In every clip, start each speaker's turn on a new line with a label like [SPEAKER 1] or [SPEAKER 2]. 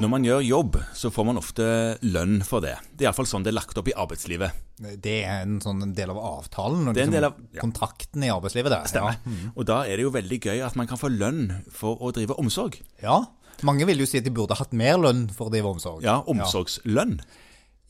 [SPEAKER 1] Når man gjør jobb, så får man ofte lønn for det. Det er iallfall sånn det er lagt opp i arbeidslivet.
[SPEAKER 2] Det er en sånn en del av avtalen og
[SPEAKER 1] Det er en
[SPEAKER 2] liksom
[SPEAKER 1] del av- ja.
[SPEAKER 2] kontrakten i arbeidslivet. Det.
[SPEAKER 1] Stemmer. Og da er det jo veldig gøy at man kan få lønn for å drive omsorg.
[SPEAKER 2] Ja. ja. Mange vil jo si at de burde hatt mer lønn for å drive omsorg.
[SPEAKER 1] Ja, omsorgslønn.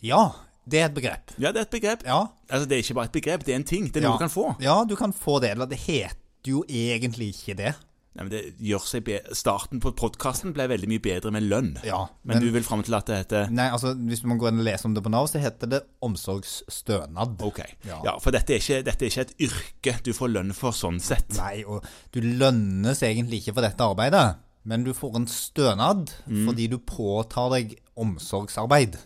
[SPEAKER 2] Ja, det er et begrep.
[SPEAKER 1] Ja, det er et begrep.
[SPEAKER 2] Ja.
[SPEAKER 1] Altså, det er ikke bare et begrep, det er en ting. Det er noe
[SPEAKER 2] ja.
[SPEAKER 1] du kan få.
[SPEAKER 2] Ja, du kan få det. Eller det heter jo egentlig ikke det.
[SPEAKER 1] Nei, men det gjør seg be Starten på podkasten ble veldig mye bedre med lønn.
[SPEAKER 2] Ja,
[SPEAKER 1] men,
[SPEAKER 2] men-
[SPEAKER 1] du vil fram til at det heter
[SPEAKER 2] Nei, altså hvis man går inn og leser om det på Nav, så heter det omsorgsstønad.
[SPEAKER 1] Ok. Ja,
[SPEAKER 2] Ja.
[SPEAKER 1] For dette er, ikke, dette er ikke et yrke du får lønn for sånn sett.
[SPEAKER 2] Nei, og du lønnes egentlig ikke for dette arbeidet, men du får en stønad
[SPEAKER 1] Mm.
[SPEAKER 2] fordi du påtar deg omsorgsarbeid.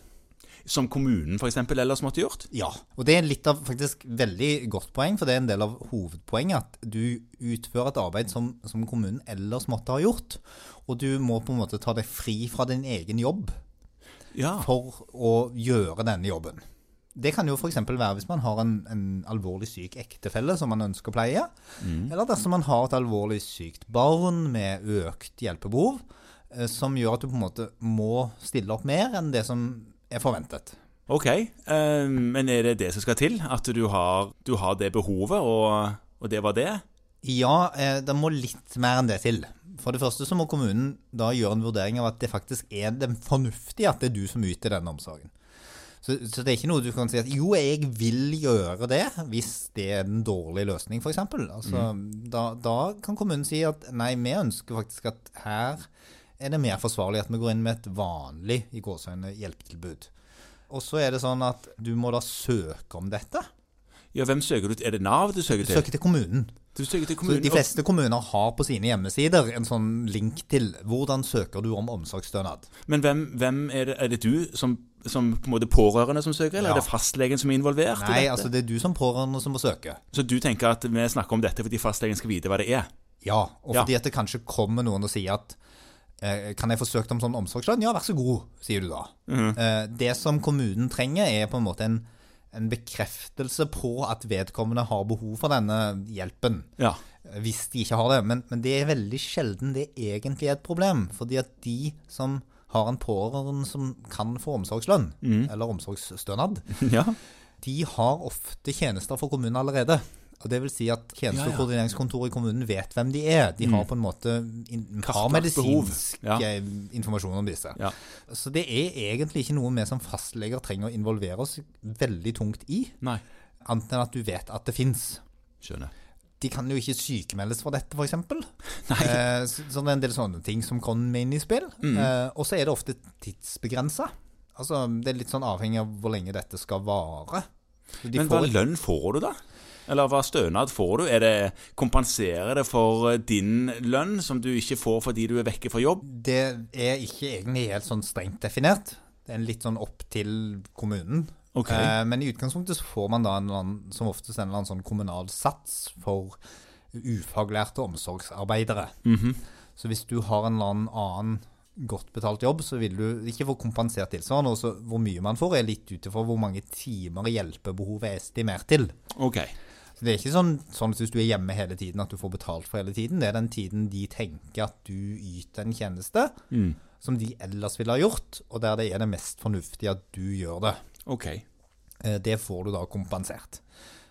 [SPEAKER 1] Som kommunen f.eks. ellers måtte gjort.
[SPEAKER 2] Ja, og det er litt av faktisk veldig godt poeng, for det er en del av hovedpoenget at du utfører et arbeid som, som kommunen ellers måtte ha gjort, og du må på en måte ta deg fri fra din egen jobb
[SPEAKER 1] Ja.
[SPEAKER 2] for å gjøre denne jobben. Det kan jo f.eks. være hvis man har en, en alvorlig syk ektefelle som man ønsker å pleie, eller dersom man har et alvorlig sykt barn med økt hjelpebehov, eh, som gjør at du på en måte må stille opp mer enn det som er forventet.
[SPEAKER 1] Ok. eh, men er det det som skal til? At du har, du har det behovet, og, og det var det?
[SPEAKER 2] Ja, eh, det må litt mer enn det til. For det første så må kommunen da gjøre en vurdering av at det faktisk er det fornuftige at det er du som yter denne omsorgen. Så, så det er ikke noe du kan si at jo, jeg vil gjøre det, hvis det er den dårlige løsning, f.eks. Altså, da, da kan kommunen si at nei, vi ønsker faktisk at her er det mer forsvarlig at vi går inn med et vanlig i gåseøyne hjelpetilbud. Og så er det sånn at du må da søke om dette.
[SPEAKER 1] Ja, hvem søker du til? Er det Nav du søker til?
[SPEAKER 2] Søke til kommunen.
[SPEAKER 1] Du søker til
[SPEAKER 2] Så
[SPEAKER 1] kommunen.
[SPEAKER 2] de
[SPEAKER 1] og-
[SPEAKER 2] fleste kommuner har på sine hjemmesider en sånn link til hvordan søker du om omsorgsstønad.
[SPEAKER 1] Men hvem, hvem er, det, er det du som, som på en måte pårørende som søker, eller
[SPEAKER 2] Ja.
[SPEAKER 1] er det fastlegen som er involvert? i
[SPEAKER 2] Nei,
[SPEAKER 1] dette?
[SPEAKER 2] altså det er du som pårørende som må søke.
[SPEAKER 1] Så du tenker at vi snakker om dette fordi fastlegen skal vite hva det er?
[SPEAKER 2] Ja, og
[SPEAKER 1] Ja.
[SPEAKER 2] fordi at det kanskje kommer noen og sier at eh, kan jeg få søkt om sånn omsorgslønn? Ja, vær så god, sier du da.
[SPEAKER 1] Mhm.
[SPEAKER 2] Eh, Det som kommunen trenger er på en måte en, en bekreftelse på at vedkommende har behov for denne hjelpen.
[SPEAKER 1] Ja.
[SPEAKER 2] hvis de ikke har det. Men, men det er veldig sjelden det egentlig er et problem. Fordi at de som har en pårørende som kan få omsorgslønn,
[SPEAKER 1] Mm.
[SPEAKER 2] eller omsorgsstønad,
[SPEAKER 1] ja.
[SPEAKER 2] de har ofte tjenester for kommunen allerede. Og det vil si at tjeneste-
[SPEAKER 1] Ja, ja.
[SPEAKER 2] og koordineringskontoret i kommunen vet hvem de er. De har på en måte in- har
[SPEAKER 1] Kartlagt behov.
[SPEAKER 2] medisinsk
[SPEAKER 1] Ja.
[SPEAKER 2] eh, informasjon om disse.
[SPEAKER 1] Ja.
[SPEAKER 2] Så det er egentlig ikke noe vi som fastleger trenger å involvere oss veldig tungt i,
[SPEAKER 1] Nei.
[SPEAKER 2] annet enn at du vet at det fins
[SPEAKER 1] Skjønner.
[SPEAKER 2] de kan jo ikke sykemeldes for dette, f.eks.
[SPEAKER 1] Nei. Mm.
[SPEAKER 2] Eh, så så det er en del sånne ting som kommer inn i spill. Eh, og så er det ofte tidsbegrensa. Altså, det er litt sånn avhengig av hvor lenge dette skal vare. Så de
[SPEAKER 1] Men hva
[SPEAKER 2] får,
[SPEAKER 1] lønn får du, da? Eller hva stønad får du? Er det, kompenserer det for din lønn, som du ikke får fordi du er vekke fra jobb?
[SPEAKER 2] det er ikke egentlig helt sånn strengt definert. Det er litt sånn opp til kommunen.
[SPEAKER 1] Ok.
[SPEAKER 2] Eh, men i utgangspunktet så får man da en eller annen, som oftest en eller annen sånn kommunal sats for ufaglærte omsorgsarbeidere. Så hvis du har en eller annen annen godt betalt jobb, så vil du ikke få kompensert tilsvarende. Og så hvor mye man får, er litt ut ifra hvor mange timer hjelpebehovet er estimert til.
[SPEAKER 1] Ok.
[SPEAKER 2] Så det er ikke sånn, sånn at hvis du er hjemme hele tiden, at du får betalt for hele tiden. Det er den tiden de tenker at du yter en tjeneste
[SPEAKER 1] Mm.
[SPEAKER 2] som de ellers ville ha gjort, og der det er det mest fornuftige at du gjør det.
[SPEAKER 1] Ok.
[SPEAKER 2] Eh, Det får du da kompensert.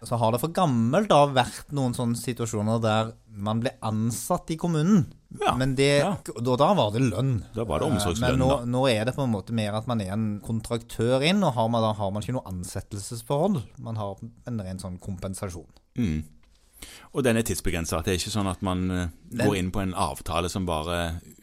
[SPEAKER 2] Så har det for gammelt da vært noen sånne situasjoner der man ble ansatt i kommunen.
[SPEAKER 1] Ja,
[SPEAKER 2] men det,
[SPEAKER 1] ja.
[SPEAKER 2] og da var det lønn.
[SPEAKER 1] Da var det
[SPEAKER 2] Eh,
[SPEAKER 1] omsorgslønn,
[SPEAKER 2] Men nå,
[SPEAKER 1] da.
[SPEAKER 2] nå er det på en måte mer at man er en kontraktør inn, og har man, da har man ikke noe ansettelsesforhold. Man har en ren sånn kompensasjon.
[SPEAKER 1] Mm. Og den er tidsbegrensa. Det er ikke sånn at man eh, går inn på en avtale som bare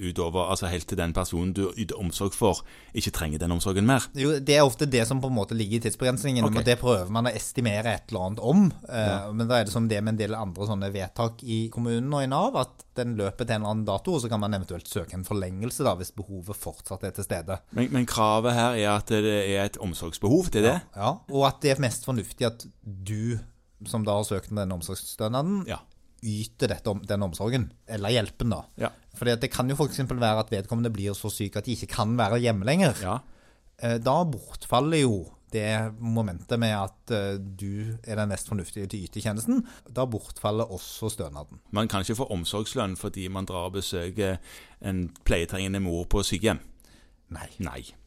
[SPEAKER 1] utover Altså helt til den personen du yter omsorg for, ikke trenger den omsorgen mer.
[SPEAKER 2] Jo, det er ofte det som på en måte ligger i tidsbegrensningen,
[SPEAKER 1] Ok.
[SPEAKER 2] og det prøver man å estimere et eller annet om. Eh, Men da er det som det med en del andre sånne vedtak i kommunen og i Nav, at den løper til en eller annen dato, og så kan man eventuelt søke en forlengelse da, hvis behovet fortsatt er til stede.
[SPEAKER 1] Men, men kravet her er at det er et omsorgsbehov, det er det?
[SPEAKER 2] Ja, og at det er mest fornuftig at du, som da har søkt om denne omsorgsstønaden,
[SPEAKER 1] Ja.
[SPEAKER 2] yter dette, om- den omsorgen, eller hjelpen da.
[SPEAKER 1] Ja.
[SPEAKER 2] Fordi at det kan jo for eksempel være at vedkommende blir så syk at de ikke kan være hjemme lenger.
[SPEAKER 1] ja.
[SPEAKER 2] Eh, Da bortfaller jo det momentet med at eh, du er den mest fornuftige til å yte tjenesten. Da bortfaller også stønaden.
[SPEAKER 1] Man kan ikke få omsorgslønn fordi man drar og besøker en pleietrengende mor på sykehjem.
[SPEAKER 2] Nei.
[SPEAKER 1] Nei.